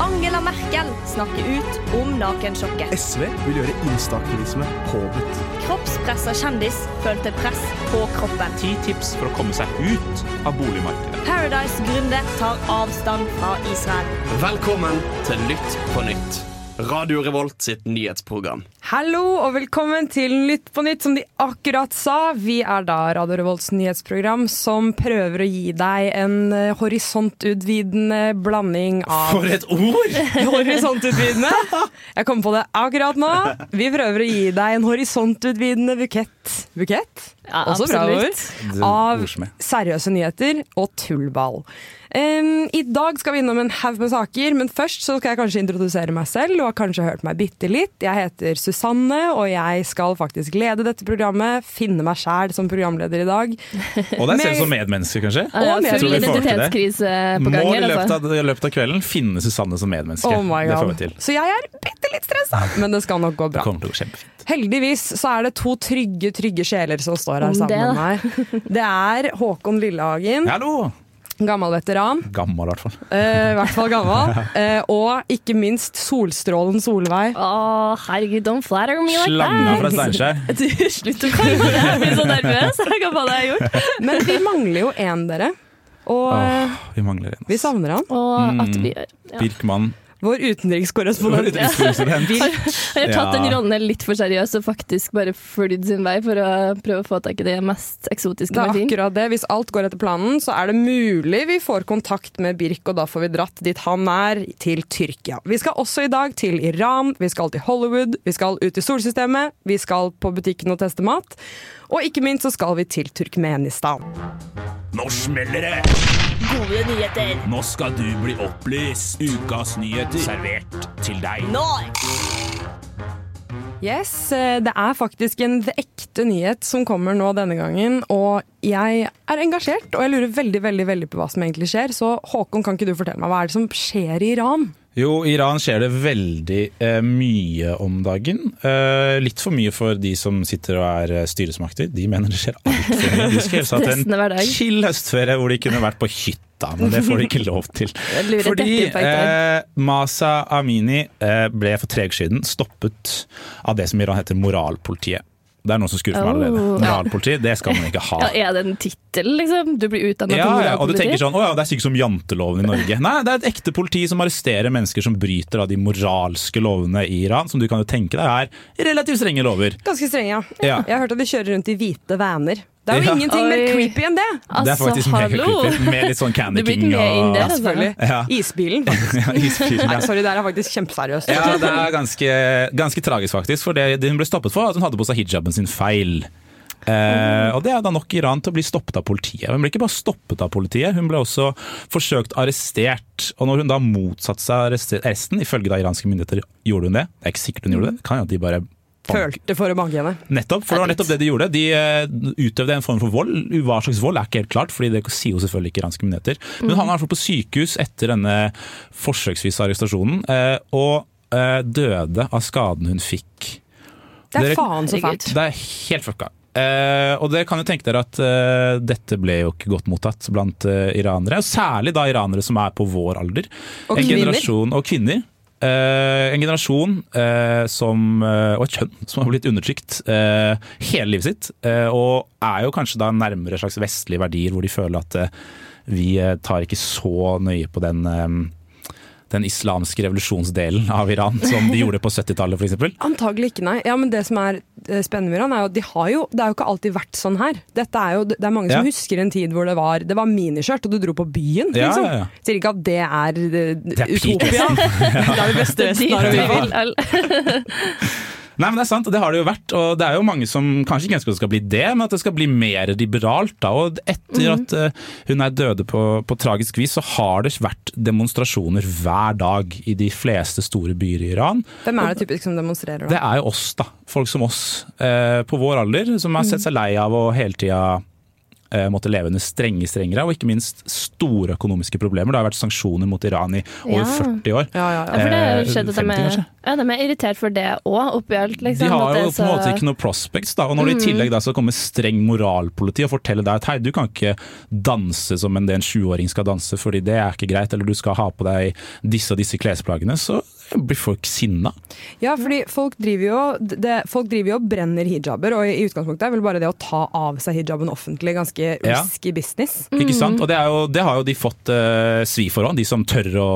Angela Merkel snakker ut om nakensjokket. SV vil gjøre instaaktivisme påbudt. Kroppspressa kjendis følte press på kroppen. Ti tips for å komme seg ut av boligmarkedet. Paradise-gründer tar avstand fra Israel. Velkommen til Lytt på nytt. Radio Revolt sitt nyhetsprogram. Hallo og velkommen til Lytt på nytt, som de akkurat sa. Vi er da Radio Revolts nyhetsprogram som prøver å gi deg en eh, horisontutvidende blanding av For et ord! Horisontutvidende? Jeg kom på det akkurat nå. Vi prøver å gi deg en horisontutvidende bukett. Bukett? Ja, Også bra absolutt. ord. Det Av ordsmed. seriøse nyheter og tullball. Em, I dag skal vi innom en haug med saker, men først så skal jeg kanskje introdusere meg selv. Du har kanskje hørt meg bitte litt. Jeg heter Susanne, og jeg skal faktisk lede dette programmet. Finne meg sjæl som programleder i dag. Og deg selv Men- som medmenneske, kanskje? Og mer- Ja, Full Jeg tror vi får til det. identitetskrise på gang Må i her, løpet altså. av, i løpet av kvelden finne Susanne som medmenneske. Oh my Det får God. vi til. Så jeg er bitte litt stressa, men det skal nok gå bra. Det kommer til å gå kjempefint. Heldigvis så er det to trygge, trygge sjeler som står her Om det, sammen med meg. Det er Håkon Lillehagen, Hallo! gammel veteran, Gammel, i hvert fall. eh, i hvert fall gammel, eh, og ikke minst Solstrålen Solveig. Å, herregud, don't flatter me like Slanga fra that! Steinkjer. Du, slutt å kalle meg det! Jeg blir så nervøs. Jeg kan hva det jeg har gjort. Men vi mangler jo én, dere. Og eh, Åh, vi mangler en. vi savner han. Og Mm. at vi ja. Birkmann. Vår utenrikskorrespondent. Jeg har Ja. tatt den rollen her litt for seriøst og faktisk bare flydd sin vei for å prøve å få tak i det mest eksotiske Det er man finner. akkurat det. Hvis alt går etter planen, så er det mulig vi får kontakt med Birk, og da får vi dratt dit han er, til Tyrkia. Vi skal også i dag til Iran, vi skal til Hollywood, vi skal ut i solsystemet, vi skal på butikken og teste mat, og ikke minst så skal vi til Turkmenistan. Nå smeller det! Gode nyheter. Nå skal du bli opplyst. Ukas nyheter servert til deg. Nå! Yes, eh, det er faktisk en ekte nyhet som kommer nå denne gangen, og jeg er engasjert, og jeg lurer veldig, veldig, veldig på hva som egentlig skjer, så Håkon, kan ikke du fortelle meg hva er det som skjer i Iran? Jo, i Iran skjer det veldig eh, mye om dagen. Eh, litt for mye for de som sitter og er eh, styresmakter. De mener det skjer altfor mye. De skulle helst hatt Stressende en hverdag. chill høstferie hvor de kunne vært på hytta, men det får de ikke lov til. Jeg lurer Fordi dette på et eh, Masa Amini eh, ble for tre uker siden stoppet av det som i Iran heter moralpolitiet. Det er noen som skrur for meg allerede. Oh. Moralpoliti, det skal man ikke ha. Ja, er det en tittel, liksom? Du blir utdannet Ja, til ja, og du moralpoliti? tenker sånn, «Å ja, det er sikkert som janteloven i Norge. Nei, det er et ekte politi som arresterer mennesker som bryter av de moralske lovene i Iran, som du kan jo tenke deg er relativt strenge lover. Ganske strenge, ja. Ja. Jeg har hørt at de kjører rundt i hvite vaner. Det er jo Ja. ingenting mer Oi. creepy enn det! sånn, det er Altså, faktisk mega hallo. creepy, med litt sånn Candy Du blir King ikke med inn der, og altså. Selvfølgelig. Ja. Isbilen. faktisk. ja, isfyren, Nei, ja. sorry, det her er faktisk kjempeseriøst. ja, det er ganske, ganske tragisk faktisk, for det, det hun ble stoppet for, var at hun hadde på seg hijaben sin feil. Eh, og det er da nok i Iran til å bli stoppet av politiet. Hun ble ikke bare stoppet av politiet, hun ble også forsøkt arrestert. Og når hun da motsatte seg arreste- arresten, ifølge da iranske myndigheter, gjorde hun det. Det er ikke sikkert hun gjorde det, det kan jo at de bare Følte for å banke henne. Nettopp, for det var nettopp det de gjorde. De eh, utøvde en form for vold. Hva slags vold er ikke helt klart, fordi det sier jo selvfølgelig ikke iranske myndigheter. Men han er i hvert fall på sykehus etter denne forsøksvise arrestasjonen, eh, og eh, døde av skaden hun fikk. Det er Dere- faen så Herregud. fælt. Det er helt fucka. Eh, og dere kan jo tenke dere at eh, dette ble jo ikke godt mottatt blant eh, iranere. Og særlig da iranere som er på vår alder. Og En kvinner. generasjon- Og kvinner. Eh, en generasjon eh, som, eh, og et kjønn som har blitt undertrykt eh, hele livet sitt. eh, og er jo kanskje da nærmere slags vestlige verdier, hvor de føler at eh, vi eh, tar ikke så nøye på den eh, den islamske revolusjonsdelen av Iran, som de gjorde på 70-tallet f.eks. Antagelig ikke, nei. Ja, men det som er eh, spennende med Iran, er jo at de har jo, det er jo ikke alltid vært sånn her. Dette er jo, det er mange som Ja. husker en tid hvor det var, det var miniskjørt, og du dro på byen, Ja, liksom. ja, ja. Sier ikke at det er, eh, er peak utopia. Det er det beste Vesten har å by på. Dit vi vil, all- Nei, men Det er sant, og det har det jo vært. og Det er jo mange som kanskje ikke ønsker at det skal bli det, men at det skal bli mer liberalt. da, og Etter at eh, hun er døde på, på tragisk vis, så har det vært demonstrasjoner hver dag i de fleste store byer i Iran. Hvem er det typisk som demonstrerer da? Det er jo oss, da. Folk som oss eh, på vår alder, som har sett seg lei av å hele tida eh, måtte leve under strenge strengere, og ikke minst store økonomiske problemer. Det har vært sanksjoner mot Iran i over Ja. 40 år. Ja, ja, Ja, for det har jo skjedd at de 50 er, Eh, kanskje? ja, de er irritert for det òg, oppi alt. Liksom, De har at det jo på er en så- Mm. måte ikke noe prospects, da. Og når det i tillegg da så kommer streng moralpoliti og forteller deg at hei, du kan ikke danse som en, det en 20-åring skal danse, fordi det er ikke greit, eller du skal ha på deg disse og disse klesplaggene, så blir folk sinna. Ja, fordi folk driver jo det, Folk driver jo og brenner hijaber, og i, i utgangspunktet er vel bare det å ta av seg hijaben offentlig ganske Ja. risky business. Ikke sant? Og det, er jo, det har jo de fått eh, svi for òg. De som tør å,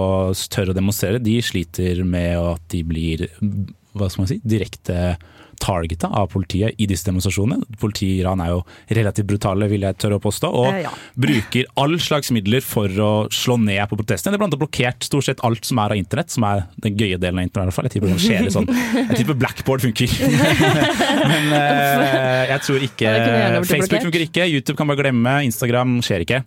tør å demonstrere, de sliter med at de blir hva skal man si, direkte targeta av politiet i disse demonstrasjonene. Politiet i Iran er jo relativt brutale, vil jeg tørre å påstå. Og Eh, ja. bruker all slags midler for å slå ned på protestene. Det er blant annet blokkert stort sett alt som er av internett, som er den gøye delen av internett i hvert fall. Jeg tipper, det skjer i sånn. jeg tipper blackboard funker. Men eh, jeg tror ikke Ja, det kunne gjerne blitt blokkert. Facebook funker ikke, YouTube kan bare glemme, Instagram skjer ikke.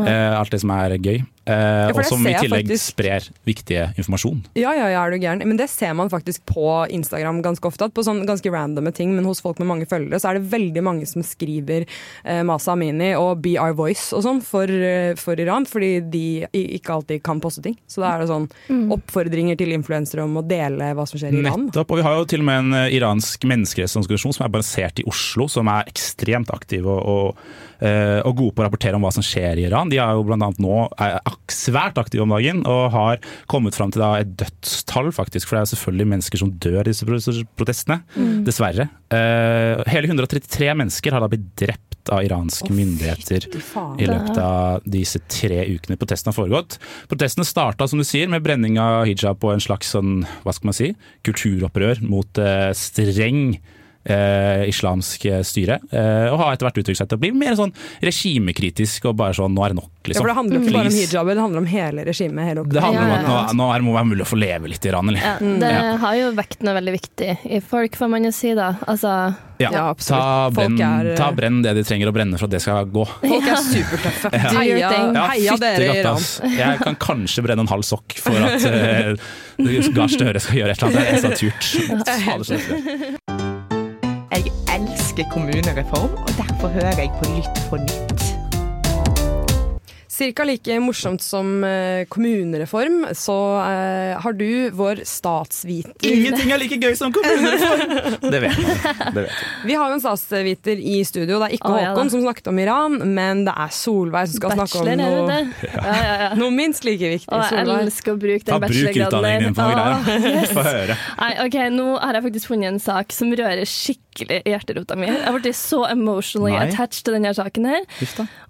Eh, alt det som er gøy. Eh, Ja, for og det som ser i jeg tillegg faktisk. sprer viktige informasjon. Ja, ja, ja, er du gæren. Men det ser man faktisk på Instagram ganske ofte. At på sånn ganske randomme ting, men hos folk med mange følgere, så er det veldig mange som skriver eh, Masa Amini og Be Our Voice og sånn for, eh, for Iran, fordi de i- ikke alltid kan poste ting. Så da er det sånn oppfordringer til influensere om å dele hva som skjer i Iran. da. Mm. Nettopp. Og vi har jo til og med en eh, iransk menneskerettsorganisasjon som er basert i Oslo, som er ekstremt aktiv og, og, eh, og gode på å rapportere om hva som skjer i Iran. De er jo bl.a. nå er ak- svært aktive om dagen og har kommet fram til da et dødstall, faktisk. For det er selvfølgelig mennesker som dør i disse pro- protestene. Dessverre. Eh, hele 133 mennesker har da blitt drept av iranske myndigheter Fy faen. i løpet av disse tre ukene protesten har foregått. Protestene starta som du sier, med brenning av hijab og en slags sånn, hva skal man si, kulturopprør mot eh, streng eh, islamsk eh, styre. Eh, og har etter hvert uttrykt seg til å bli mer sånn regimekritisk og bare sånn nå er det nok, Ja, liksom. for det handler jo ikke bare om Please. hijaber, det handler om hele regimet. Hele Det handler om Ja, at nå, nå er det må være mulig å få leve litt i Iran, eller? Ja, det har jo vekt noe veldig viktig i folk, får man jo si, da. Altså, Ja, Ja, ta, absolutt. brenn, Folk er- eh, ta brenn det de trenger å brenne for at det skal gå. Folk er supertøffe. Do your Heia, thing. Ja, heia dere i fyttegatt, Iran. ass. Jeg kan kanskje brenne en halv sokk for at eh, Gahr Støre skal gjøre et eller annet. Det er eneste jeg har turt. Fader, så lett. Jeg elsker kommunereform, og derfor hører jeg på Lytt på nytt. Cirka like morsomt som eh, kommunereform, så eh, har du vår statsviter. Ingenting er like gøy som kommunereform! Det vet man. Det vet man. Vi har jo en statsviter i studio. Det er ikke Å, ja da. Håkon som snakket om Iran, men det er Solveig som skal snakke bachelor, er om jo det? noe, Ja, ja, ja. noe minst like viktig. Og jeg Solveig. elsker å bruke Ta den bruk bachelorgraden utdanningen din for noe greier. da. Få høre. Nei, ok, Nå har jeg faktisk funnet en sak som rører skikkelig i hjerterota mi. Jeg ble så emotionally Nei. attached til denne saken her.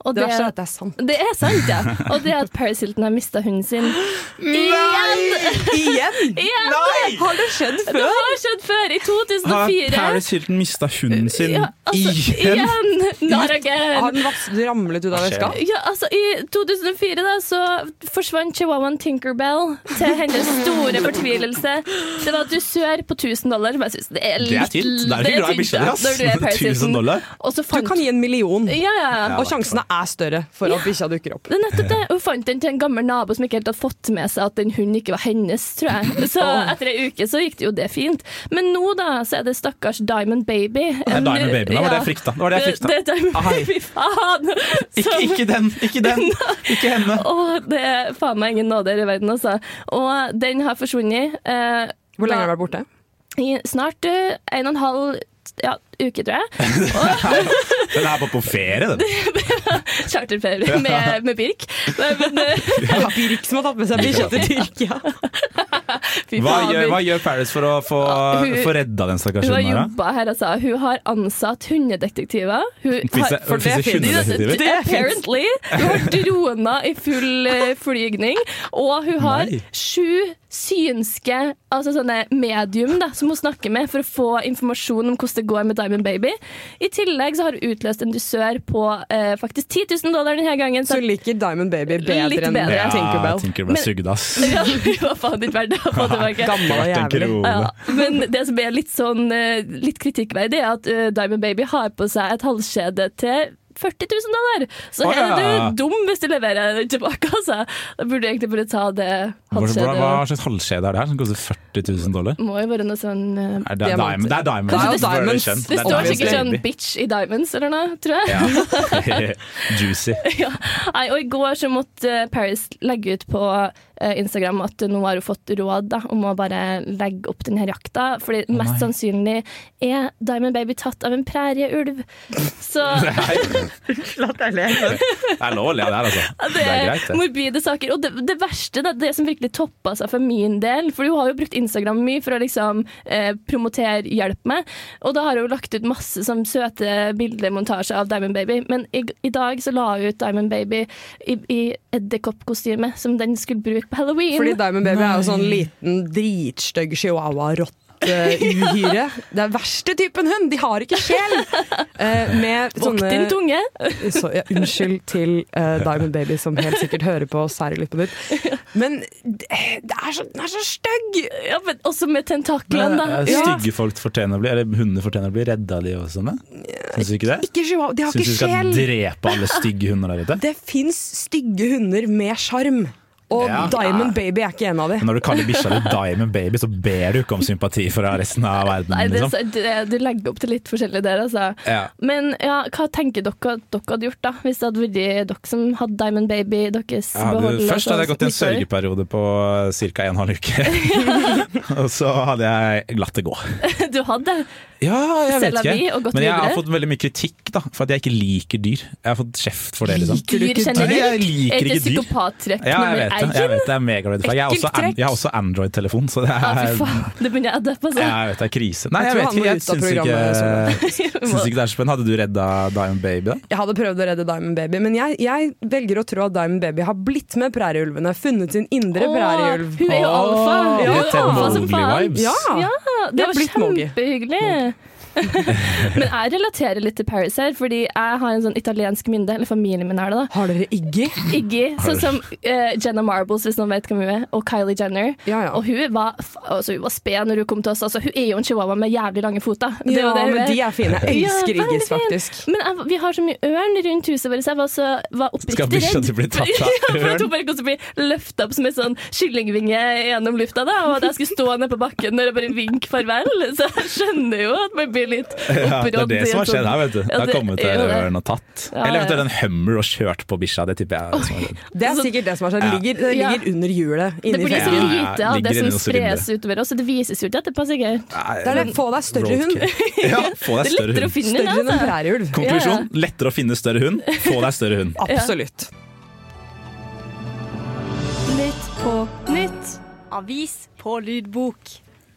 Og Det verste er at det er sant. det er sant, ja. Og det er at Paris Hilton har mista hunden sin. Igjen! Igjen! Igjen! Har det skjedd Det før? har skjedd før, i 2004. Paris Hilton mista hunden sin Ja, altså, igjen? igjen! Not Har again! den vas- ramlet ut av Hva skjer? veska? Ja, altså, I 2004 da, så forsvant chihuahuaen Tinkerbell til hennes store fortvilelse. Det var dusør på 1000 dollar. som Jeg synes det er litt Det er tynt. Det er det ikke glad i tynt, bikkja di, ja, ass. når du er Paris 1000 Hilton. dollar. Og så Du fant kan gi en million, Ja, ja. og sjansene er større for at bikkja dukker opp. Det er nettopp det. Hun fant den til en gammel nabo som ikke helt hadde fått med seg at den hunden ikke var hennes, tror jeg. Så etter ei uke så gikk det jo det fint. Men nå da, så er det stakkars Diamond Baby. Det er Diamond Baby, da var det jeg frykta. Det var det jeg frykta. Det, det er Diamond Ai. Baby, faen! Ikke, Som- ikke den, ikke den, ikke henne. Åh, det er faen meg ingen nåde her i verden, altså. Og den har forsvunnet. Eh, Hvor lenge da- har den vært borte? I snart eh, en og en halv ja, uke, tror jeg. Den er bare på ferie, den. Charterferie med, med Birk. Men, men, eh, Det er Birk som har tatt med seg bikkja til Tyrkia. fy Hva faen, gjør, Birk. hva gjør Paris for å få, hun- få redda den stakkars Hun har hunden? her, da? jobba her, altså. Hun har ansatt hundedetektiver. Hun Finnes har det, finnes det finnes- hundedetektiver? Det finnes. Apparently. Hun har droner i full eh, flygning. Og hun har Nei. sju synske altså sånne medium da, som hun snakker med for å få informasjon om hvordan det går med Diamond Baby. I tillegg så har hun utløst en dusør på eh, faktisk 10 000 dollar denne gangen. Så Så liker Diamond Baby Litt bedre enn bedre. Ja, Tinkerbell. Tinkerbell Men- sugde, ass. ja, hun var faen ikke verdt det å få tilbake. Gammel og Vært en jævlig. krone. Ja, men det som er litt sånn eh, Litt kritikkverdig, er at eh, Diamond Baby har på seg et halskjede til 40 000 dollar! Så Å, her ja. er du dum hvis du leverer den tilbake, altså. Da burde du egentlig bare ta det Hvordan- Hva, hva halskjedet. slags halskjede er det her som koster 40 000 dollar? Må jo være noe sånn eh, Er det, Diamant. diamond, det er diamond. Det er jo Det er diamonds. skjønt. Det er står diamonds, sikkert sånn baby. 'bitch i diamonds' eller noe, tror jeg. Ja. Juicy. Ja. Nei, og i går så måtte eh, Paris legge ut på eh, Instagram at nå har hun fått råd da, om å bare legge opp denne jakta, fordi mest sannsynlig er Diamond Baby tatt av en prærieulv. Så Klart jeg lever. Det er lov å le av det her, altså. Det er greit, det. morbide saker. Og det, det verste, da, det som virkelig toppa seg for min del, for hun har jo brukt Instagram mye for å liksom eh, promotere 'hjelp meg', og da har hun lagt ut masse sånn søte bildemontasjer av Diamond Baby, men i, i dag så la hun ut Diamond Baby i, i edderkoppkostyme som den skulle bruke på halloween. Fordi Diamond Baby er jo sånn liten dritstygg chihuahua-rotte-uhyre. Det er verste typen hund! De har ikke sjel! Eh, med Vokt din sånne tunge! så, ja, Unnskyld til eh, Diamond Baby, som helt sikkert hører på og særer litt på ditt. Men det det er så, den er så stygg! Ja, men også med tentaklene, da. Men, eh, Ja. sånn, Stygge folk fortjener å bli, eller hunder fortjener å bli redda, de også. ne? Syns du ikke det? Ikke chihuahua, de har Syns du ikke vi skal sjel! drepe alle stygge hunder der ute? Det fins stygge hunder med sjarm, og Ja. Diamond Baby er ikke en av Men dem. når du kaller bikkja di Diamond Baby, så ber du ikke om sympati fra resten av verden. Nei, det, Liksom. det, du legger opp til litt forskjellig der, altså. Ja. Men ja, hva tenker dere at dere hadde gjort, da? Hvis det hadde vært dere som hadde Diamond Baby i deres altså, Jeg hadde, behold? først hadde jeg gått i en sørgeperiode på ca. en halv uke. og så hadde jeg latt det gå. Du hadde? Ja, jeg vet Selv av vi, og ikke. gått Men jeg har videre. fått veldig mye kritikk da, for at jeg ikke liker dyr. Jeg har fått kjeft for det. liksom. Dyr Nei, jeg generelt? liker Er det ikke dyr. psykopattrekk Ja, jeg nummer vet det. Jeg én? vet det. Jeg er mega red flag. Jeg har også, Ekkelt trekk. jeg har også Android-telefon, så det er, Ja, Ah, fy faen, det begynner jeg å deppe, Ja, altså. jeg vet det er krise. Nei, Jeg jeg, tror vet han ikke. må Jeg ut av syns ikke, programmet, syns ikke det er så spennende. Hadde du redda Diamond Baby, da? Jeg hadde prøvd å redde Diamond Baby, men jeg, jeg velger å tro at Diamond Baby har blitt med prærieulvene, funnet sin indre Åh, prærieulv. Hun er jo alfa! Åh, Hun er litt jo alfa som faen. Mowgli-vibes. Ja! Ja, Det det er var blitt Mogi. kjempehyggelig. Men jeg relaterer litt til Paris her, fordi jeg har en sånn italiensk mynde, eller familien min er det da. Har dere Iggy? Iggy, sånn som eh, Jenna Marbles, hvis noen vet hvem hun er, og Kylie Jenner. Ja, ja. Og hun var, f- altså, hun var sped når hun kom til oss. Altså, hun er jo en chihuahua med jævlig lange føtter. Det er jo Ja, det hun men de er fine. Jeg Ja, elsker veldig Iggys, fin. faktisk. Men jeg, vi har så mye ørn rundt huset vårt, så jeg var, så, var oppriktig Skal redd. bikkja di bli tatt av Ja, for ørn? at hun bare kom til å bli løftet opp som en sånn kyllingvinge gjennom lufta, da, og at jeg skulle stå nede på bakken når jeg bare vinker farvel. Så jeg skjønner jo at man blir litt Ja, opprådd. det er det i som en har skjedd sånn- her, vet du. Det Ja, har kommet er til jo det. ørn og tatt. Ja, Eller ja. eventuelt en Hummer og kjørt på bikkja. Det tipper jeg. er det som har skjedd. Det er Så- sikkert det som har skjedd. Ja. Ligger, det ligger Ja. under hjulet. Det Inni blir så fesken. Ja, ja, lite av ligger det inne som hos spres utover oss, så det vises jo ikke etterpå, sikkert. Det er det, få deg større hund. Roadkill. Ja, få Det deg er større lettere å hund. finne Større enn den, en altså. prærieulv. Konklusjon lettere å finne større hund. Få deg større hund. Absolutt. Nytt på nytt. Avis på lydbok.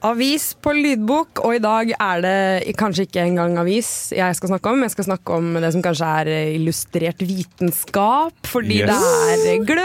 Avis på lydbok, og i dag er det kanskje ikke engang avis jeg skal snakke om. Jeg skal snakke om det som kanskje er illustrert vitenskap, fordi Yes. det er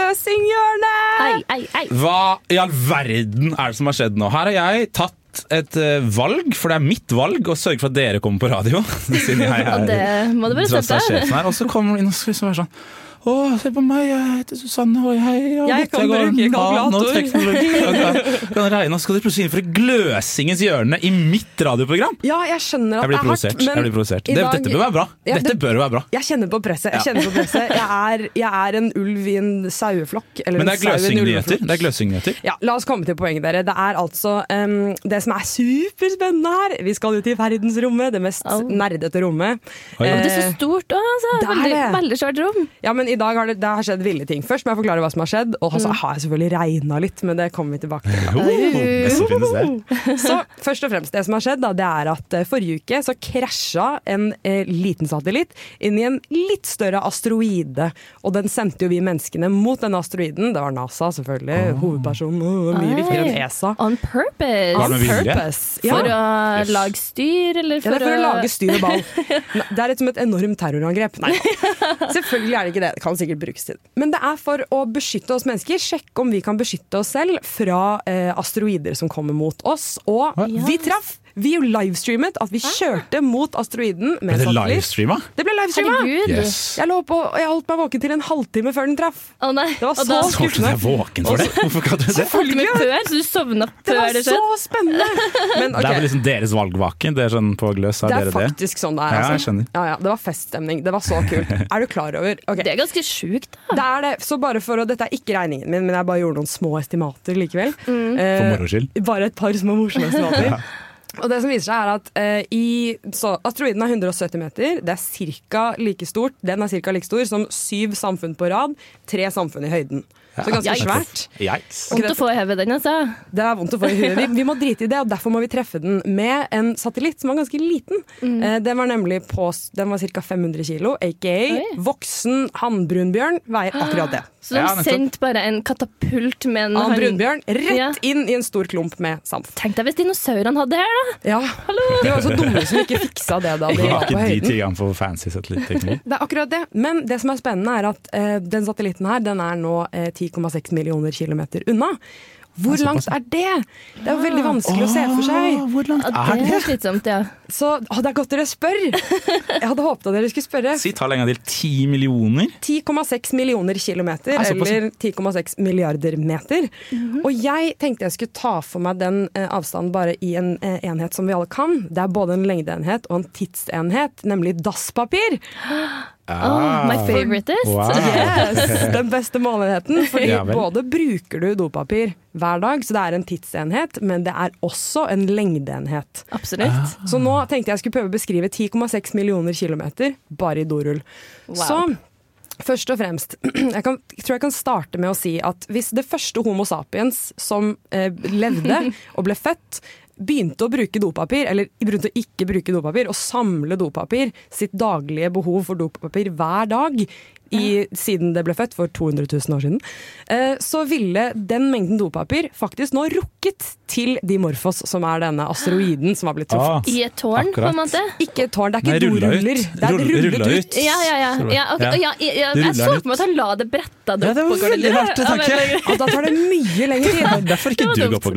Gløsinghjørnet! Ei, ei, ei. Hva i all verden er det som har skjedd nå? Her har jeg tatt et eh, valg, for det er mitt valg å sørge for at dere kommer på radio. Siden jeg Og det er må du bare tross alt støtte. sjefen her. Og så kommer hun inn og skal liksom være sånn Å, se på meg, jeg heter Susanne, og jeg, har Jeg gått- kan går bruke nano- kalkulator. teknologi, og kan- kan regne, og så skal dere plutselig inn for gløsingens hjørne i mitt radioprogram! Ja, jeg skjønner at Jeg det blir er hardt, provosert. Jeg blir provosert. Det, dette bør være bra. Ja, Dette det- bør være bra. Jeg kjenner på presset. Jeg, kjenner på presset. jeg, er, jeg er en ulv i en saueflokk. eller Men en det er sau i en gløsingnyheter. ulveflokk. Det er gløsingnyheter. Ja, La oss komme til poenget, dere. Det er altså em, det som er superspennende her. Vi skal ut i verdensrommet, det mest Au. nerdete rommet. Oi, oi. Det er så stort òg, altså. Det er Veldig, det. veldig svært rom. Ja, men i dag har det, det har skjedd ville ting. Først må jeg forklare hva som har skjedd. Og Mm. så har jeg selvfølgelig regna litt, men det kommer vi tilbake til. Jo, det finnes det. Så først og fremst det som har skjedd, da, det er at eh, forrige uke så krasja en eh, liten satellitt inn i en litt større asteroide. Og den sendte jo vi menneskene mot den asteroiden. Det var NASA, selvfølgelig. Hovedpersonen. Åh, mye viktigere enn E ESA. On Var purpose. det med vilje? Ja. For å lage styr, eller Ja, for, det er for å lage styr og ball. Nei, Det er litt som et enormt terrorangrep. Nei, selvfølgelig er det ikke det. Det kan sikkert brukes til det. Men det er for å beskytte oss mennesker. Sjekke om vi kan beskytte oss selv fra eh, asteroider som kommer mot oss. Og vi traff Vi jo livestreamet at vi Ah. kjørte mot asteroiden med Ble det satellitt. livestreama? Det ble livestreamet! Herregud. Yes. Jeg lå på, og jeg holdt meg våken til en halvtime før den traff. Å nei. var Og da så Så du deg våken for det? Hvorfor kan du det? holdt med før, så du sovna Det før var det så skjedde. spennende! Men, Det er ok. vel liksom deres valgvake. Det er sånn på gløs, har Det er dere det? faktisk sånn det Ja, er. jeg Altså. skjønner. Ja, ja, det var feststemning. Det var så kult. Er du klar over Ok, Det er ganske sjukt. da. det er det. Så bare for å, Dette er ikke regningen min, men jeg bare gjorde noen små estimater likevel. Eh, For moro skyld. bare et par små morsomme estimater. Og det som viser seg er at eh, i, så, Asteroiden er 170 meter. Det er cirka like stort. Den er cirka like stor som syv samfunn på rad. Tre samfunn i høyden. Så ganske Yikes. svært. Yikes. Ok, Vondt å få i hodet den, altså. Det er vondt å få i huet. Vi, vi må drite i det, og derfor må vi treffe den med en satellitt som var ganske liten. Eh, den var nemlig på Den var ca. 500 kilo, aka Oi. voksen hannbrunbjørn veier akkurat det. Så de Ja, nettopp. sendte bare en katapult med en Annen han- brunbjørn rett Ja. inn i en stor klump med sand. Tenk deg hvis dinosaurene hadde det her, da. Ja. De var så dumme som ikke fiksa det da de Var var på ikke de høyden. tilgang for fancy satellittteknologi? Det er akkurat det. Men det som er spennende, er at eh, den satellitten her den er nå eh, 10,6 millioner kilometer unna. Hvor langt er det? Det er jo veldig vanskelig å se for seg. Hvor langt Ja, det er slitsomt, ja. Så å, det er godt dere spør! Jeg hadde håpet at dere skulle spørre. Si tallet en gang til. Ti millioner? 10,6 millioner kilometer, Nei, såpass. Mhm. eller 10,6 milliarder meter. Og jeg tenkte jeg skulle ta for meg den eh, avstanden bare i en eh, enhet som vi alle kan. Det er både en lengdeenhet og en tidsenhet, nemlig dasspapir. Ah. Oh, my favoritist. Wow. Yes, den beste måleenheten. Fordi Ja vel. både bruker du dopapir hver dag, så det er en tidsenhet, men det er også en lengdeenhet. Ah. Absolutt. Så nå tenkte jeg skulle prøve å beskrive 10,6 millioner kilometer bare i dorull. Så først og fremst, jeg kan, jeg tror jeg kan starte med å si at hvis det første Homo sapiens som eh, levde og ble født, begynte å bruke dopapir, eller begynte å ikke bruke dopapir, og samle dopapir, sitt daglige behov for dopapir hver dag, i, siden det ble født for 200 000 år siden, eh, så ville den mengden dopapir faktisk nå rukket til Dimorphos, som er denne asteroiden som har blitt truffet. Ah, I et tårn, på en Akkurat. måte. Ikke et tårn, det Nei, er ikke rulla ut. doruller. Det er Rull- rullet rulla ut. ut. Ja, ja, ja. ja, ok, Ja. ja, ja, ja. Det Jeg så ruller for meg at han la det bretta det Ja, opp. det var på gulvet. veldig rart, det Ja, tenker jeg. veldig- Og da tar det mye lengre tid. Derfor ikke Det du var går dumt. på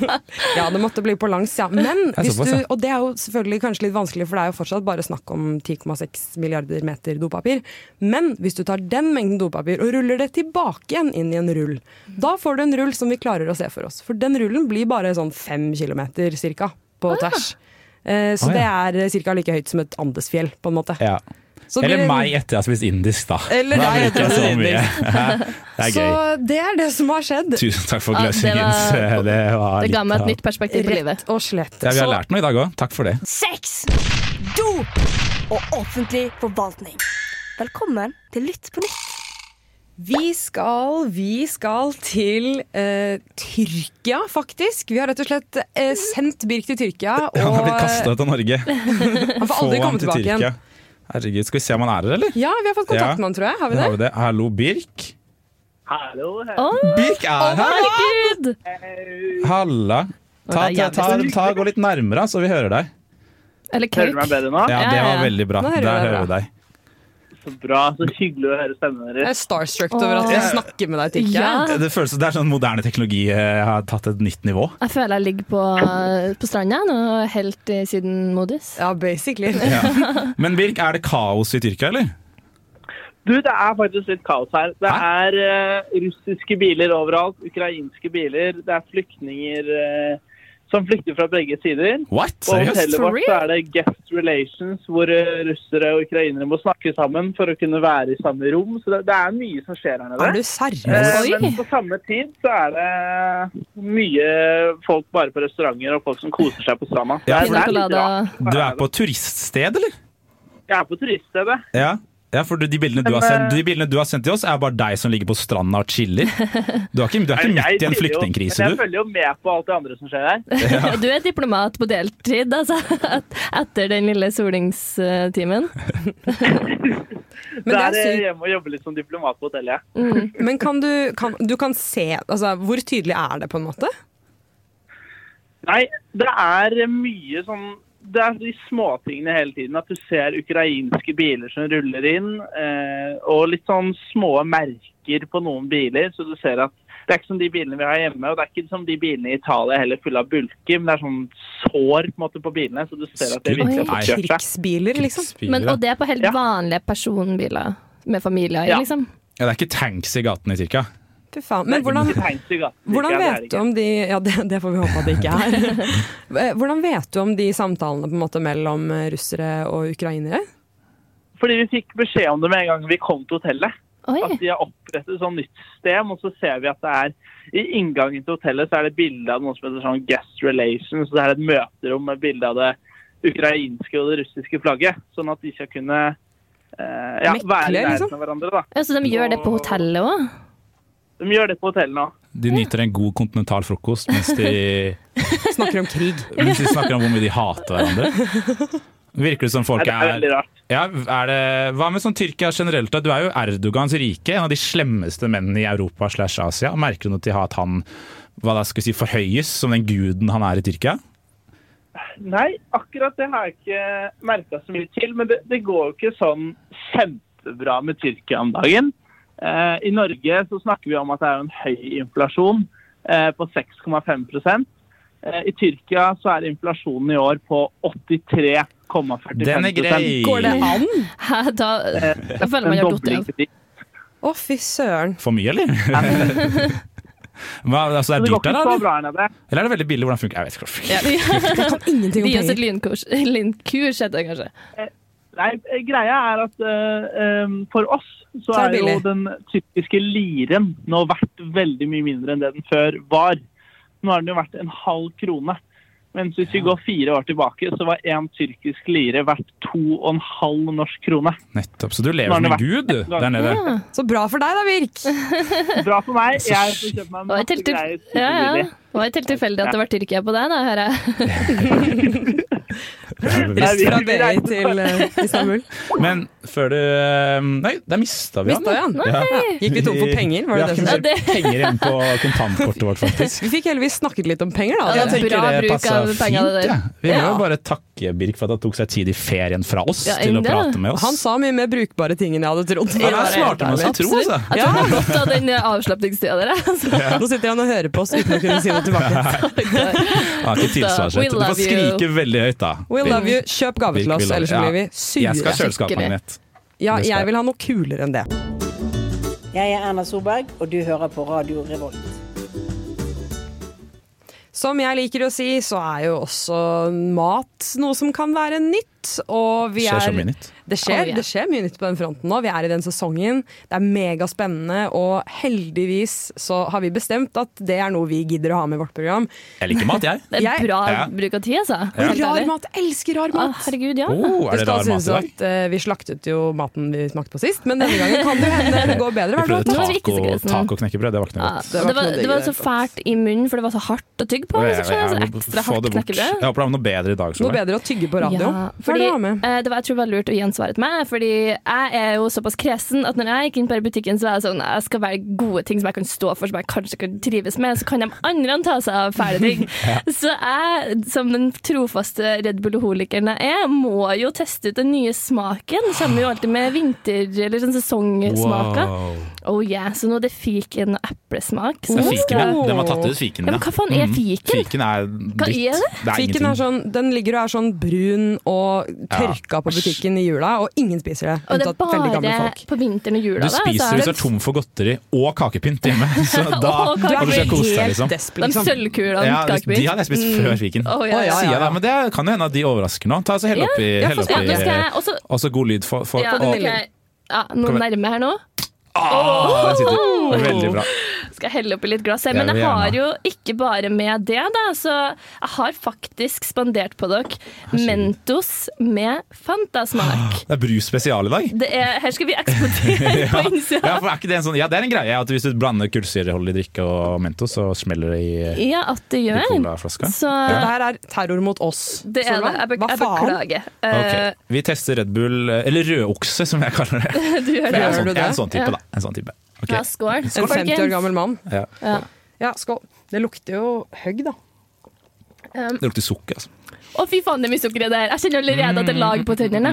gløs. Ja, det måtte bli på langs, ja. Men er hvis såpass, du, ja. og det er jo selvfølgelig kanskje litt vanskelig, for det er jo fortsatt bare snakk om 10,6 milliarder meter dopapir. Men hvis du tar den mengden dopapir og ruller det tilbake igjen inn i en rull, da får du en rull som vi klarer å se for oss. For den rullen blir bare sånn fem kilometer cirka på tvers. Eh, Ah, Så ja. det er cirka like høyt som et Andesfjell, på en måte. Ja. Så Eller blir- meg etter jeg har spist indisk, da. Eller Da deg bruker etter jeg så du har mye. Det er Så gøy. det er det som har skjedd. Tusen takk for Ja, det gløssingens. var- Det var Det ga litt meg av- et nytt perspektiv på livet. Rett og slett. Ja, vi har Så- lært noe i dag òg. Takk for det. Sex, dop og offentlig forvaltning. Velkommen til Lytt på nytt. Vi skal, vi skal til eh, Tyrkia, faktisk. Vi har rett og slett eh, sendt Birk til Tyrkia. Og Han har blitt kasta eh, ut av Norge. han får Få aldri ham komme til tilbake igjen. Tyrkia. Herregud, skal vi se om han er her, eller? Ja, vi har fått kontakt Ja. med han, tror jeg. Har vi Der det? har vi det. Hallo, Birk. Å, Birk er her! herregud! Halla. Ta, det er ta, jævlig ta, ta, gå litt nærmere, så vi hører deg. Eller kauk. bedre nå? Ja, Ja, det var ja. veldig bra. Nå hører vi Der deg hører vi deg. Så bra. Så hyggelig å høre stemmen Jeg deres. er starstruck over at vi Åh. snakker med deg i Tyrkia. Ja. Det føles det er sånn moderne teknologi eh, har tatt et nytt nivå. Jeg føler jeg ligger på, på stranda nå, helt eh, siden modus. Ja, basically. Men Birk, er det kaos i Tyrkia, eller? Du, det er faktisk litt kaos her. Det er eh, russiske biler overalt, ukrainske biler, det er flyktninger eh, som flykter fra begge sider. What? Og Seriøst? hotellet For vårt så er det guest relations, hvor eh, russere og ukrainere må snakke sammen for å kunne være i samme rom. Så det, det er mye som skjer her nede. Er du seriøs? Eh, Oi. Men på samme tid så er det mye folk bare på restauranter og folk som koser seg på stranda. Ja, Det er- Pina det er litt colada. rart. Du er på turiststed, eller? Jeg er på turiststedet. Ja. ja for du- de bildene, du har Men, eh, sendt, de bildene du har sendt til oss, er bare deg som ligger på stranda og chiller. Du er ikke, du er ikke midt Nei, jeg i en følger jo- flyktningkrise, Men jeg du. følger jo med på alt det andre som skjer her. Du er diplomat på deltid, altså. et- Etter den lille solingstimen. Men det det er er sykt. eh, hjemme og jobbe litt som diplomat på hotellet. ja. Men kan du, kan, du kan se altså, Hvor tydelig er det, på en måte? Nei, det er mye sånn det er de småtingene hele tiden. At du ser ukrainske biler som ruller inn, eh, og litt sånn små merker på noen biler. Så du ser at Det er ikke som de bilene vi har hjemme, og det er ikke som de bilene i Italia heller fulle av bulker, men det er sånn sår på, en måte, på bilene, så du ser at det Skudd? virkelig Nei. har fått kjørt seg. Krigsbiler, liksom. Krigsbiler, Men, og det er på helt Ja. vanlige personbiler med familier i, Ja. liksom. Ja, det er ikke tanks i gaten i Tyrkia. Fy faen. Men hvordan, Ikke tegn til gaten, hvordan ikke, det vet er det du ikke. om de Ja, det, det får vi håpe at det ikke er. Eh, Hvordan vet du om de samtalene på en måte mellom eh, russere og ukrainere? Fordi vi fikk beskjed om det med en gang vi kom til hotellet. At Oi. de har opprettet et sånt nytt system, og så ser vi at det er i inngangen til hotellet så er det bilde av noe som heter sånn guest relations. Så det er et møterom med bilde av det ukrainske og det russiske flagget. Sånn at de skal kunne eh, ja, Mekle, være i liksom? nærheten av hverandre. da. Ja, så de gjør det på hotellet òg? De gjør det på hotellet nå. De nyter en god kontinental frokost mens de, Snakker om krig. mens de snakker om hvor mye de hater hverandre. Virker det som folk Nei, det er er veldig rart. ja, er det, Hva med sånn Tyrkia generelt? da? Du er jo Erdogans rike, en av de slemmeste mennene i Europa slash Asia. Merker du noe til at han hva da skal vi si, forhøyes som den guden han er i Tyrkia? Nei, akkurat det har jeg ikke merka så mye til. Men det, det går jo ikke sånn kjempebra med Tyrkia om dagen. Eh, I Norge så snakker vi om at det er en høy inflasjon eh, på 6,5 eh, I Tyrkia så er inflasjonen i år på 83,45 Den er grei! Går det an? Hæ, Da, da føler man jeg Eh, En har datt dobling av. til de. Å, fy søren. For mye, eller? hva, altså, det Så er det går dyrt ikke der, så eller? bra her nede. Eller er det veldig billig? Hvordan funker Jeg vet ikke. Ja. Jeg kan ingenting om Gi oss et penger. lynkurs, lynkurs heter det kanskje. Nei, greia er at eh, um, for oss så, Så er er, det jo billig. den tyrkiske liren nå verdt veldig mye mindre enn det den før var. Nå har den jo vært en halv krone. Mens hvis vi går fire år tilbake, så var én tyrkisk lire verdt to og en halv norsk krone. Nettopp. Så du lever Nå har som det en vært- gud du, der nede. Ja. Så bra for deg da, Birk. Bra for meg. Så Jeg får kjøpt meg Og masse helt, til, greier. ja, ja. superbillig. Det var helt tilfeldig at det var Tyrkia på deg, da, hører jeg. Nei, vi- Fra vi BI reiser- til eh, Istanbul. Men før du um, Nei, der mista vi Mista vi han? Ja. Gikk vi tom for penger? Vi Var har det det som ikke skjedde? mer penger igjen på kontantkortet vårt, faktisk. Vi fikk heldigvis snakket litt om penger, da. Ja, dere. det bra bruk av pengene der. jeg. Vi må jo Ja. bare takke Birk for at han tok seg tid i ferien fra oss Ja, til å det. prate med oss. Han sa mye mer brukbare ting enn jeg hadde trodd. Han er smartere enn man skal tro, Absolutt. altså. Jeg tror det er godt av den eh, avslapningstida dere. altså. Nå sitter han og hører på oss uten å kunne si noe tilbake. Han har ikke tilsvarsrett. We Du får love you. skrike veldig høyt, da. We Birk. love you. Kjøp gave til Birk, we oss, love ellers you. blir vi Ja. Jeg skal sure. ha kjøleskapsmagnet. Ja, det skal jeg. jeg vil ha noe kulere enn det. Jeg er Erna Solberg, og du hører på Radio Revolt. Som jeg liker å si, så er jo også mat noe som kan være nytt. Og vi Skjer så er- mye nytt. Det skjer, Oh, yeah. det skjer mye nytt på den fronten nå. Vi er i den sesongen. Det er megaspennende, og heldigvis så har vi bestemt at det er noe vi gidder å ha med i vårt program. Jeg liker mat, jeg. Det Jeg- er bra Ja. bruk av tid, altså. Og Helt Rar ærlig. mat! Jeg elsker rar Å, mat! herregud, ja. Oh, er Det det skal rar mat i synes dag? at eh, Vi slaktet jo maten vi smakte på sist, men denne gangen kan det jo hende det går bedre. Vi hver prøvde måte. Nå er vi ikke så taco, kresen. tacoknekkebrød, det var ikke noe Ja, godt. var det, var, ikke noe digg det var i så det hele fælt i munnen, for det var så hardt å tygge på. Jeg- Så skjønner jeg jeg- så jeg- ekstra få hardt det bort. knekkebrød. Jeg håper det er noe bedre i dag. Noe Solveig. bedre å tygge på radio. Ja, Hva er fordi, det du har med? eh, det var jeg tror det var lurt å gjensvare til meg, fordi jeg er jo såpass kresen at når jeg gikk inn på butikken, så var jeg sånn jeg skal velge gode ting som jeg kan stå for, som jeg kanskje kan trives med, så kan de andre ta seg av fæle ting. Så jeg, som den trofaste Red Bull-holikeren jeg er, må jo teste ut den nye smaken. Kommer jo alltid med vinter- eller sånn sesongsmaker. Wow. Oh yeah, så nå er det fiken og eplesmak. Så Det er nå fiken, ja. skal- Den var tatt ut, fiken. Ja, men hva faen er Mm. fiken? Fiken er Hva dritt. er det? Det er Fiken ingenting. er sånn, den ligger og er sånn brun og tørka på butikken i jula, og ingen spiser det. Og det er Unntatt veldig gamle bare folk. på vinteren og Du jula. da, så spiser er hvis du det- er tom for godteri og kakepynt hjemme. Så da Og kakepynt. og du skal kose deg, liksom. desp, De sølvkulene Ja, de kakepynt. hadde jeg spist før fiken. Å, ja, ja, Sier jeg ja, ja. da, Men det kan jo hende at de overrasker nå. Ta så Hell oppi, ja, hell få Ja, oppi nå skal jeg også Og så Altså, god lyd for, for ja, og, ok. ja, Noe Kom igjen. nærme her nå. Å, der sitter ah, den. Veldig bra. Skal jeg helle oppi litt glass her. Jeg Men vil jeg gjerne. har jo ikke bare med det, da. Så jeg har faktisk spandert på dere Mentos med Fantasmak. Det er brus spesial i dag. Det er, her skal vi eksportere på Ja, innsida. for er ikke det, en sånn, ja, det er en greie at hvis du blander kullsyreholdig drikke og Mentos, så smeller det i, Ja, at det i gjør. colaflaska. Så Dette her er terror mot oss. det er det. Solveig. Jeg, bek- Hva jeg faen? beklager. Ok, Eh, Vi tester Red Bull, eh, eller rødokse som jeg kaller det. Du gjør Jeg er det. en Gjør sånn, du jeg er det? en sånn type, Ja. da. En sånn type. Ok. Ja, skål. En 50 år folkens. gammel mann. Ja. Ja. Ja, skål. Det lukter jo høgg, da. Det lukter sukker, altså. Å, fy faen, det er mye sukker i det her. Jeg kjenner allerede at det er lag på tennene.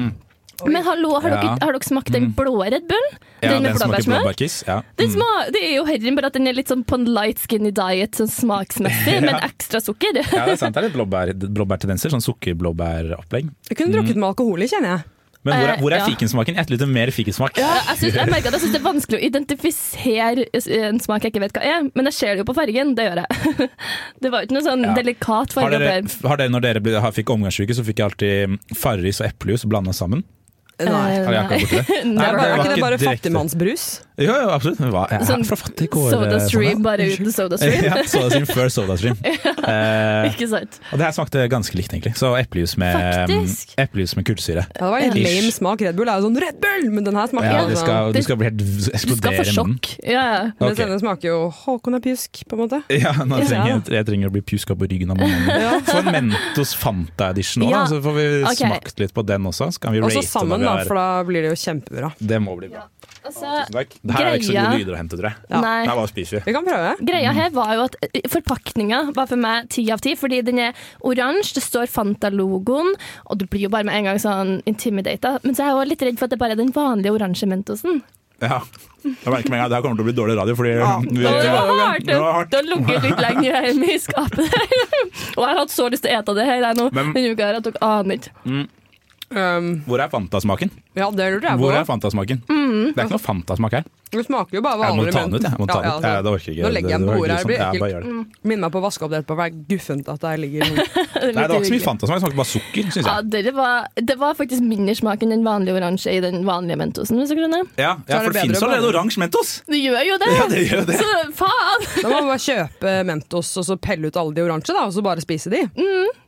Men hallo, har, Mm, Ja. dere, har dere smakt den Mm. blå Red Bullen? Ja, den med den smaker blåbærsmør? blåbærkiss. Ja. Mm. Den sma- det er jo herren, bare at den er litt sånn på en light skinny diet sånn smaksmessig, med Ja. ekstra sukker. ja, det er sant. Det er litt blåbær, blåbærtendenser. Sånn sukkerblåbæropplegg. Jeg kunne Mm. drukket med alkohol i, kjenner jeg. Men hvor er, hvor er Eh, ja. fikensmaken? Jeg etterlyser mer fikensmak. Ja, jeg, synes, jeg merker at jeg synes det er vanskelig å identifisere en smak jeg ikke vet hva er, men jeg ser det jo på fargen. Det gjør jeg. Det var jo ikke noe sånn Ja. delikat har farge dere, oppi her. har dere, når dere ble, har, fikk omgangssyke, så fikk jeg alltid Farris og eplejus blanda sammen? Eh, Nei. Har jeg ikke borti det? Det Nei, det er, bare, var er ikke det ikke bare direkte. fattigmannsbrus? Jo, jo, absolutt. Men hva? Jeg er Sånn fra fattige kår. Soda eh, Stream, Sanna. bare uten Soda ja, Stream. SodaStream før SodaStream. Eh, Ikke sant. og det her smakte ganske likt, egentlig. Så eplejus med, mm, Faktisk. eplejus med kullsyre. Ja, det var en Ish. lame smak. Red Bull er jo sånn Red Bull! Men den her smaker Ja, jo du, sånn- skal, du skal bli helt Du skal eksplodere få i munnen. sjokk. Ja, ja. Mens Ok. denne smaker jo Håkon er pjusk, på en måte. Ja, nå Ja. trenger jeg, jeg trenger å bli pjuska på ryggen av mannen. min. Få en Mentos Fanta Edition òg, Ja, så får vi ok. smakt litt på den også. Så kan vi Og rate så sammen, da, det. for da blir det jo kjempebra. Det må bli bra. Altså, Tusen takk. Her er det ikke så Greia- gode lyder å hente, tror jeg. Nei. Her bare spiser vi. Vi kan prøve. Greia her var jo at eh, forpakninga var for meg ti av ti, fordi den er oransje, det står Fanta-logoen, og du blir jo bare med en gang sånn intimidata. Men så er jeg jo litt redd for at det bare er den vanlige oransje Mentosen. Ja. Jeg merker med en gang at det her kommer til å bli dårlig radio, fordi vi, Og det var hardt! det var hardt. Det har ligget litt lenger hjemme i skapet. og jeg har hatt så lyst til å ete det her jeg, nå, Men- denne uka her at dere aner ikke. Um, Hvor er Fanta-smaken? ja, Mm. det lurer jeg på. Hvor er Fanta-smaken? Det er ikke noe Fanta-smak her. Det smaker jo bare Jeg må vanlig ta den ut, jeg. jeg. Må ta den ut. altså, Ja, det orker jeg ikke. Nå legger jeg den Det- på det var bordet her, Mm. det blir grusomt. Ja, bare gjør ekkelt. Minn meg på å vaske opp det etterpå, for det er guffent at det her ligger i Nei, det var ikke så mye Fanta-smak, det smakte bare sukker, syns Ja, jeg. det, var, det var faktisk mindre smak enn den vanlige oransje i den vanlige Mentosen. Hvis du skjønner. Ja, ja er det for det bedre fins å allerede bare- oransje Mentos! Det gjør jo det! Ja, det gjør det. Så faen! Da må man bare kjøpe Mentos og så pelle ut alle de oransje, da, og så bare spise de.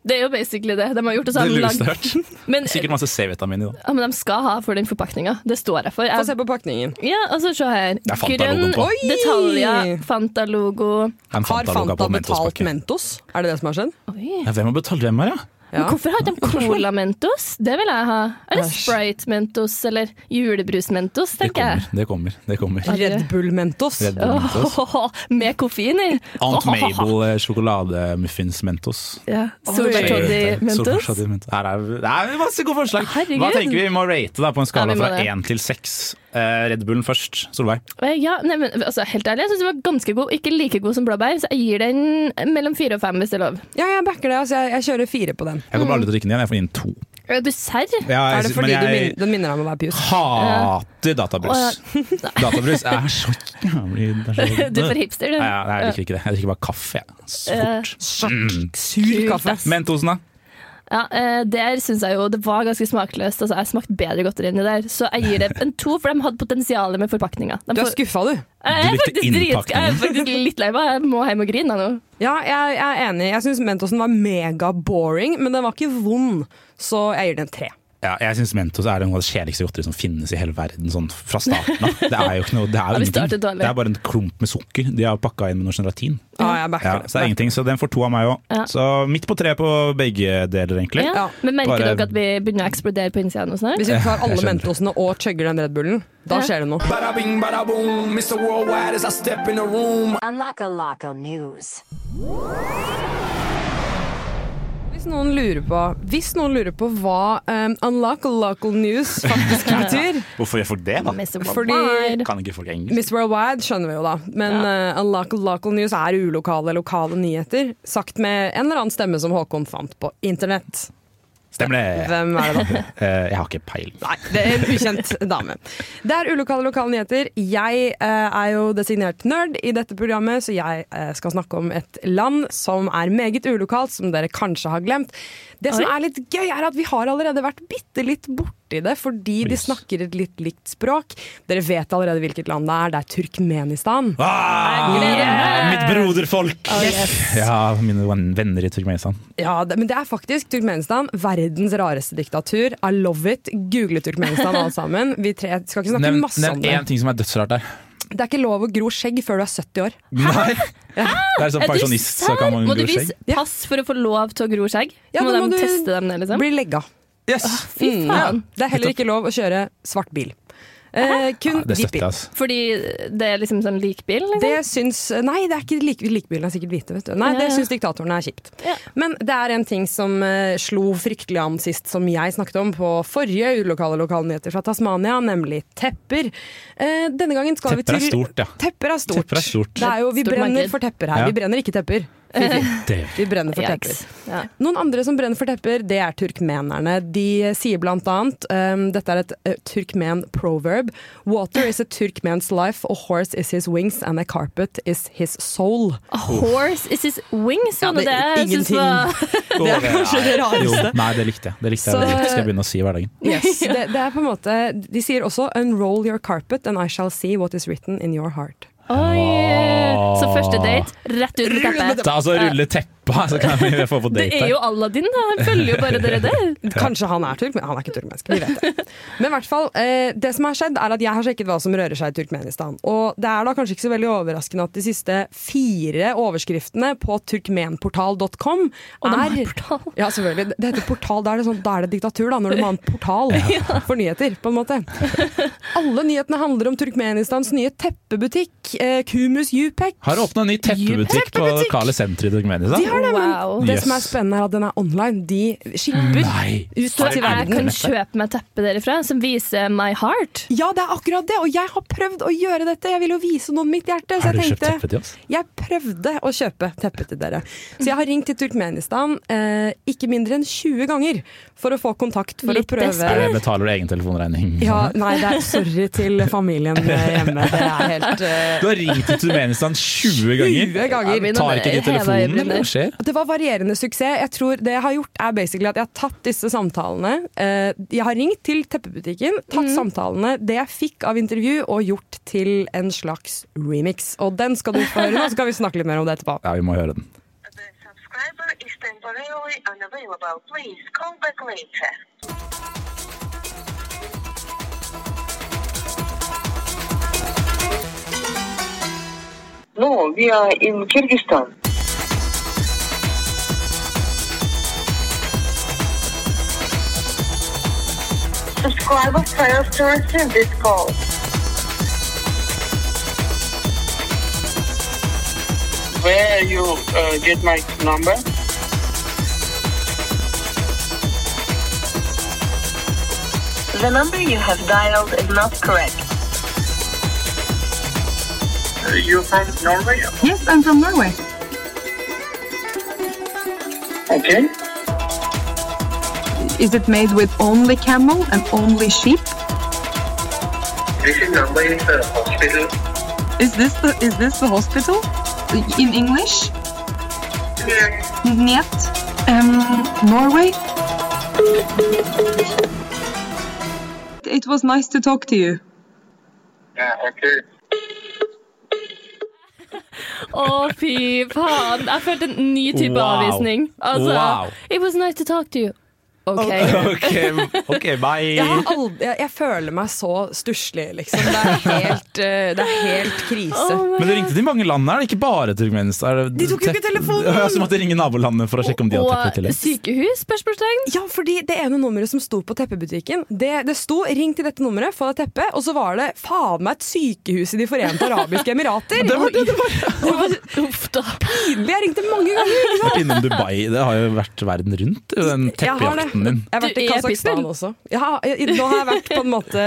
Det er jo basically det. De har gjort det Det så har de lureste jeg lagd- har hørt. Men, Sikkert masse C-vitamin i det. ja, men de skal ha for den forpakninga. Det står jeg for. Få Jeg, se på pakningen. ja, altså, se her. er Fanta-logoen på. Oi! detaljer, Fanta-logo. En Har Fanta-logo Fanta på betalt Mentos-pakke. Mentos? Er det det som har skjedd? Oi. Ja, hvem har betalt hvem her, ja? Ja. Men hvorfor har de Cola-Mentos? Det vil jeg ha. Eller Æsj. Sprite-Mentos, eller julebrus-Mentos, Det tenker jeg. kommer, det kommer. det kommer Red Bull Mentos. Red Bull Mentos. Åh, med koffein i. Aunt Mabel eh, sjokolademuffins Mentos. Ja. Solbærtoddy-Mentos. Solbærtoddy-Mentos. Her er det er masse gode forslag. Herregud. Hva tenker vi vi må rate da på en skala Ja, vi må fra det. én til seks? Eh, Red Bullen først. Solveig. Ja, nei, men, altså, helt ærlig, jeg syns den var ganske god. Ikke like god som blåbær, så jeg gir den mellom fire og fem, hvis det er lov. Ja, jeg backer det. Altså, jeg, jeg kjører fire på den. Jeg kommer aldri til å drikke den igjen. Jeg får inn to. Er du serr? Ja, jeg- Er det fordi men du jeg min, den minner deg om å være pjusk? hater databrus. Å, ja. Databrus er så jævlig det er så- Du er for hipster, du. Nei, ja, nei, jeg liker ikke det. Jeg drikker bare kaffe. jeg. Så fort. Sur kaffe. Mentosen, da? Ja, eh, Der syns jeg jo det var ganske smakløst. Altså, Jeg smakte bedre godteri enn det der. Så jeg gir det en to, for de hadde potensial med forpakninga. De Du er får- Eh, skuffa, du. Jeg er Du likte faktisk drit- innpakningen. Jeg er faktisk litt lei meg. Jeg må hjem og grine nå. Ja, jeg, jeg er enig. Jeg syns Mentosen var mega-boring, men den var ikke vond, så jeg gir den en tre. Ja, jeg syns Mentos er noe av det kjedeligste godteriet som finnes i hele verden. Sånn fra starten av. Det er jo ikke noe, det er Ja, jo vi ingenting. startet dårlig. Det er bare en klump med sukker de har pakka inn med noe gelatin. Ja, jeg backer Ja, det. så det er ingenting, så den får to av meg òg. Ja. Så midt på tre på begge deler, egentlig. Ja. Men merker Bare- dere at vi begynner å eksplodere på innsida nå snart? Hvis vi tar alle skjønner. Mentosene og chugger den Red Bullen, da Ja. skjer det noe. Bada-bing, bada-boom, Mr. Worldwide as I step in the room. Hvis noen lurer på, hvis noen lurer på hva um, Unlocal Local News faktisk betyr Hvorfor gjør folk det, da? Mr. Fordi- Worldwide. Kan ikke folk engelsk? Miss Worldwide skjønner vi jo, da. Men eh, Unlocal Local News er ulokale lokale nyheter. Sagt med en eller annen stemme som Håkon fant på internett. Stemmer det! Hvem er det da? Eh, jeg har ikke peiling. Nei, det er en ukjent dame. Det er ulokale lokale nyheter. Jeg eh, er jo designert nerd i dette programmet, så jeg eh, skal snakke om et land som er meget ulokalt, som dere kanskje har glemt. Det som Oi. er litt gøy, er at vi har allerede vært bitte litt borti det, fordi de Please. snakker et litt likt språk. Dere vet allerede hvilket land det er. Det er Turkmenistan. Ah, Jeg gleder meg. Mitt broderfolk! Oh, Ja, mine ven- venner i Turkmenistan. Ja, det, men det er faktisk Turkmenistan. Verdens rareste diktatur. I love it. Google Turkmenistan, alle sammen. Vi tre skal ikke snakke Nevn masse nevn om det. én ting som er dødsrart der. Det er ikke lov å gro skjegg før du er 70 år. Nei. Det er sånn Er du pensjonist, så serr? kan man Må du unngå skjegg. vise pass for å få lov til å gro skjegg? Ja, må da de må du- teste dem ned, liksom? Blir legga. Yes. Fy Mm, ja. faen. Det er heller ikke lov å kjøre svart bil. Eh, kun Ja, det støtter hvitbil. jeg, altså. Fordi det er liksom sånn likbil? Liksom. Det syns Nei, det er ikke lik, likbilene er sikkert hvite, vet du. Nei, Ja, det ja. syns diktatorene er kjipt. Men det er en ting som eh, slo fryktelig an sist, som jeg snakket om på forrige ulokale lokalnyheter fra Tasmania, nemlig tepper. Eh, denne gangen skal Tepper er vi til stort, ja. Tepper er stort. Tepper er stort. Det er jo, vi Stort brenner marked. for tepper her. Ja. Vi brenner ikke tepper. Fy, fy. Vi brenner for tepper. Yikes. Ja. Noen andre som brenner for tepper, det er turkmenerne. De sier blant annet um, Dette er et uh, turkmen proverb. Water is a Turkman's life, a horse is his wings, and a carpet is his soul. A horse is his wings, Ja, var det det det er jeg synes ingenting. var Det er kanskje det Jo, rareste. nei, det likte jeg. Det likte jeg Så- veldig godt. Skal jeg begynne å si i hverdagen. Yes, det, det er på en måte De sier også 'unroll your carpet and I shall see what is written in your heart'. Oi! Ah. Så første date, rett ut med teppet. Da, altså, rulle teppa, så kan jeg få på Det date er her. jo Aladdin, da. Han følger jo bare dere der. Kanskje han er turk, men han er ikke turkmensk. Vi vet det. Men i hvert fall, eh, det som har skjedd, er at jeg har sjekket hva som rører seg i Turkmenistan. Og det er da kanskje ikke så veldig overraskende at de siste fire overskriftene på turkmenportal.com Og de har er portal. ja, selvfølgelig. Det heter portal. Da er det, sånn, da er det diktatur, da, når du må ha en portal for nyheter, på en måte. Alle nyhetene handler om Turkmenistans nye teppebutikk, eh, Kumus Yupek. Har åpna ny teppebutikk på Teppebutikk! lokale senteret i Turkmenistan. De har det, men Wow. det Yes. Mm. som er spennende, er at den er online. De skipper Nei. ut til Jeg verden. kan kjøpe meg teppe derifra som viser My Heart. Ja, det er akkurat det, og jeg har prøvd å gjøre dette. Jeg vil jo vise noen mitt hjerte. Så Har du jeg kjøpt tenkte, teppe til oss? Jeg prøvde å kjøpe teppe til dere. Så jeg har ringt til Turkmenistan eh, ikke mindre enn 20 ganger for å få kontakt for Litt å prøve Er det betaler du egen telefonregning? ja, nei, det er sorry til familien eh, hjemme. Det er helt eh, Du har ringt til Turkmenistan 20 ganger. 20 ganger. men Tar ikke de Heva telefonen, øyebrynene. eller hva skjer? Det var varierende suksess. Jeg tror Det jeg har gjort, er basically at jeg har tatt disse samtalene. Eh, Jeg har ringt til teppebutikken, tatt samtalene, det jeg fikk av intervju, og gjort til en slags remix. Og den skal du få høre nå, så skal vi snakke litt mer om det etterpå. Ja, vi må høre den. No, we are in Kyrgyzstan. Subscriber fails to receive this call. Where you uh, get my number? The number you have dialed is not correct. You're from Norway? Yes, I'm from Norway. Okay. Is it made with only camel and only sheep? This is number is the hospital. Is this the is this the hospital? In English? Нет. Um, Norway. It was nice to talk to you. Yeah, okay. Å, fy faen. Jeg følte en ny type Wow. avvisning. Altså, Wow. It was nice to talk to you. OK. Ok, ok, bye. Jeg, har aldri, jeg, jeg føler meg så stusslig, liksom. Det er helt, eh, det er helt krise. Oh my Men du ringte til mange land her, ikke bare Turkmenistan. De tok jo ikke telefonen! Ja, Så måtte jeg ringe nabolandene for å sjekke om de hadde teppe Og til oss. sykehus? Spørsmålstegn. Ja, fordi det ene nummeret som sto på teppebutikken, det, det sto 'ring til dette nummeret, få deg teppe', og så var det faen meg et sykehus i De forente arabiske emirater! Det var det det var! Uff da. Pinlig! Jeg ringte mange ganger! ikke sant? Vært innom Dubai. Det har jo vært verden rundt, den Jeg har det. teppejakten din. Jeg har vært Du i er Kasakhstan pitbull. også. Jeg har, jeg, nå har jeg vært på en måte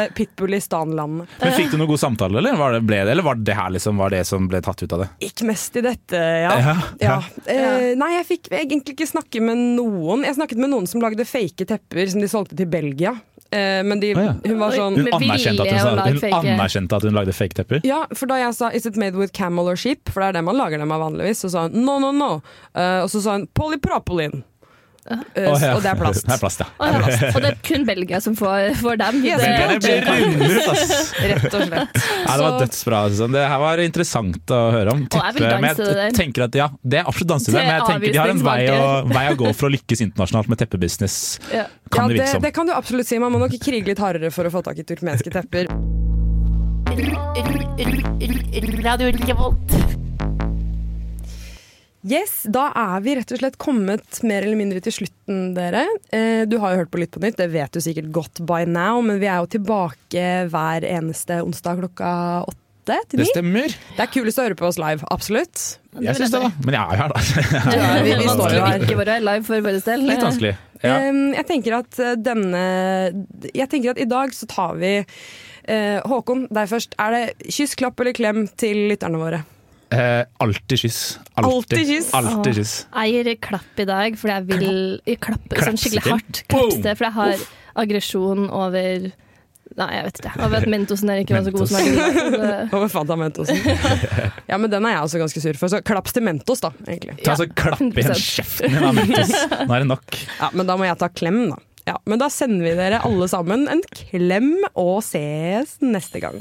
pitbullistan-landene. Men Fikk du noen god samtale, eller var det, ble det, eller var det her liksom, var det som ble tatt ut av det? Gikk mest i dette, ja. Ja, ja. Eh, nei, jeg fikk egentlig ikke snakke med noen. Jeg snakket med noen som lagde fake tepper som de solgte til Belgia. Eh, men de, Å, ja. hun var sånn Hun Med vilje anerkjente at hun, å sa, lage hun, fake- anerkjente at hun lagde fake tepper. Ja, for da jeg sa 'Is it made with camel or sheep?', for det er det man lager dem av vanligvis, så sa hun 'no, no, no'. Eh, og så sa hun 'polypropylene'. Eh, Å, ja. Og det er plast. Det er plast, ja. Og, og det er kun Belgia som får, får dem. Yes. Det- Det blir rundet, ass. Rett og slett. Nei, det var Så- dødsbra. Susanne. Det her var interessant å høre om. jeg vil Teppe, men danse til det jeg der. tenker at ja, det er absolutt danse til det, Til men jeg tenker de har en vei å, avvisningsmarker. vei å gå for å lykkes internasjonalt med teppebusiness, Ja. Ja, kan det virke det, som. det kan du absolutt si. Man må nok krige litt hardere for å få tak i turkmenske tepper. Radio Revolt. Yes, Da er vi rett og slett kommet mer eller mindre til slutten, dere. Eh, Du har jo hørt på Lytt på nytt, det vet du sikkert godt by now, men vi er jo tilbake hver eneste onsdag klokka åtte til ni. Det stemmer. Det er kulest å høre på oss live, absolutt. Jeg syns det, da. Men jeg er jo her, da. Ja, vi- vi står jo her. Ikke være live for vår del. Litt vanskelig. Ja. Ehm, Jeg tenker at eh, denne Jeg tenker at i dag så tar vi eh, Håkon, deg først. Er det kyss, klapp eller klem til lytterne våre? Eh, alltid kyss. Alltid kyss. Alltid Åh, kyss. Jeg gir klapp i dag, for jeg vil jeg klappe sånn Klapse skikkelig til. hardt. Klapse, Boom! for jeg har aggresjon over Nei, jeg vet ikke. Over at Mentosen her ikke var så god som jeg ville. Over Fanta Mentosen. Ja, men den er jeg også ganske sur for. Så klaps til Mentos, da. egentlig. Ta så klapp igjen 100%. kjeften din, Ametus. Nå er det nok. Ja, Men da må jeg ta klem, da. Ja, men da sender vi dere alle sammen en klem, og ses neste gang.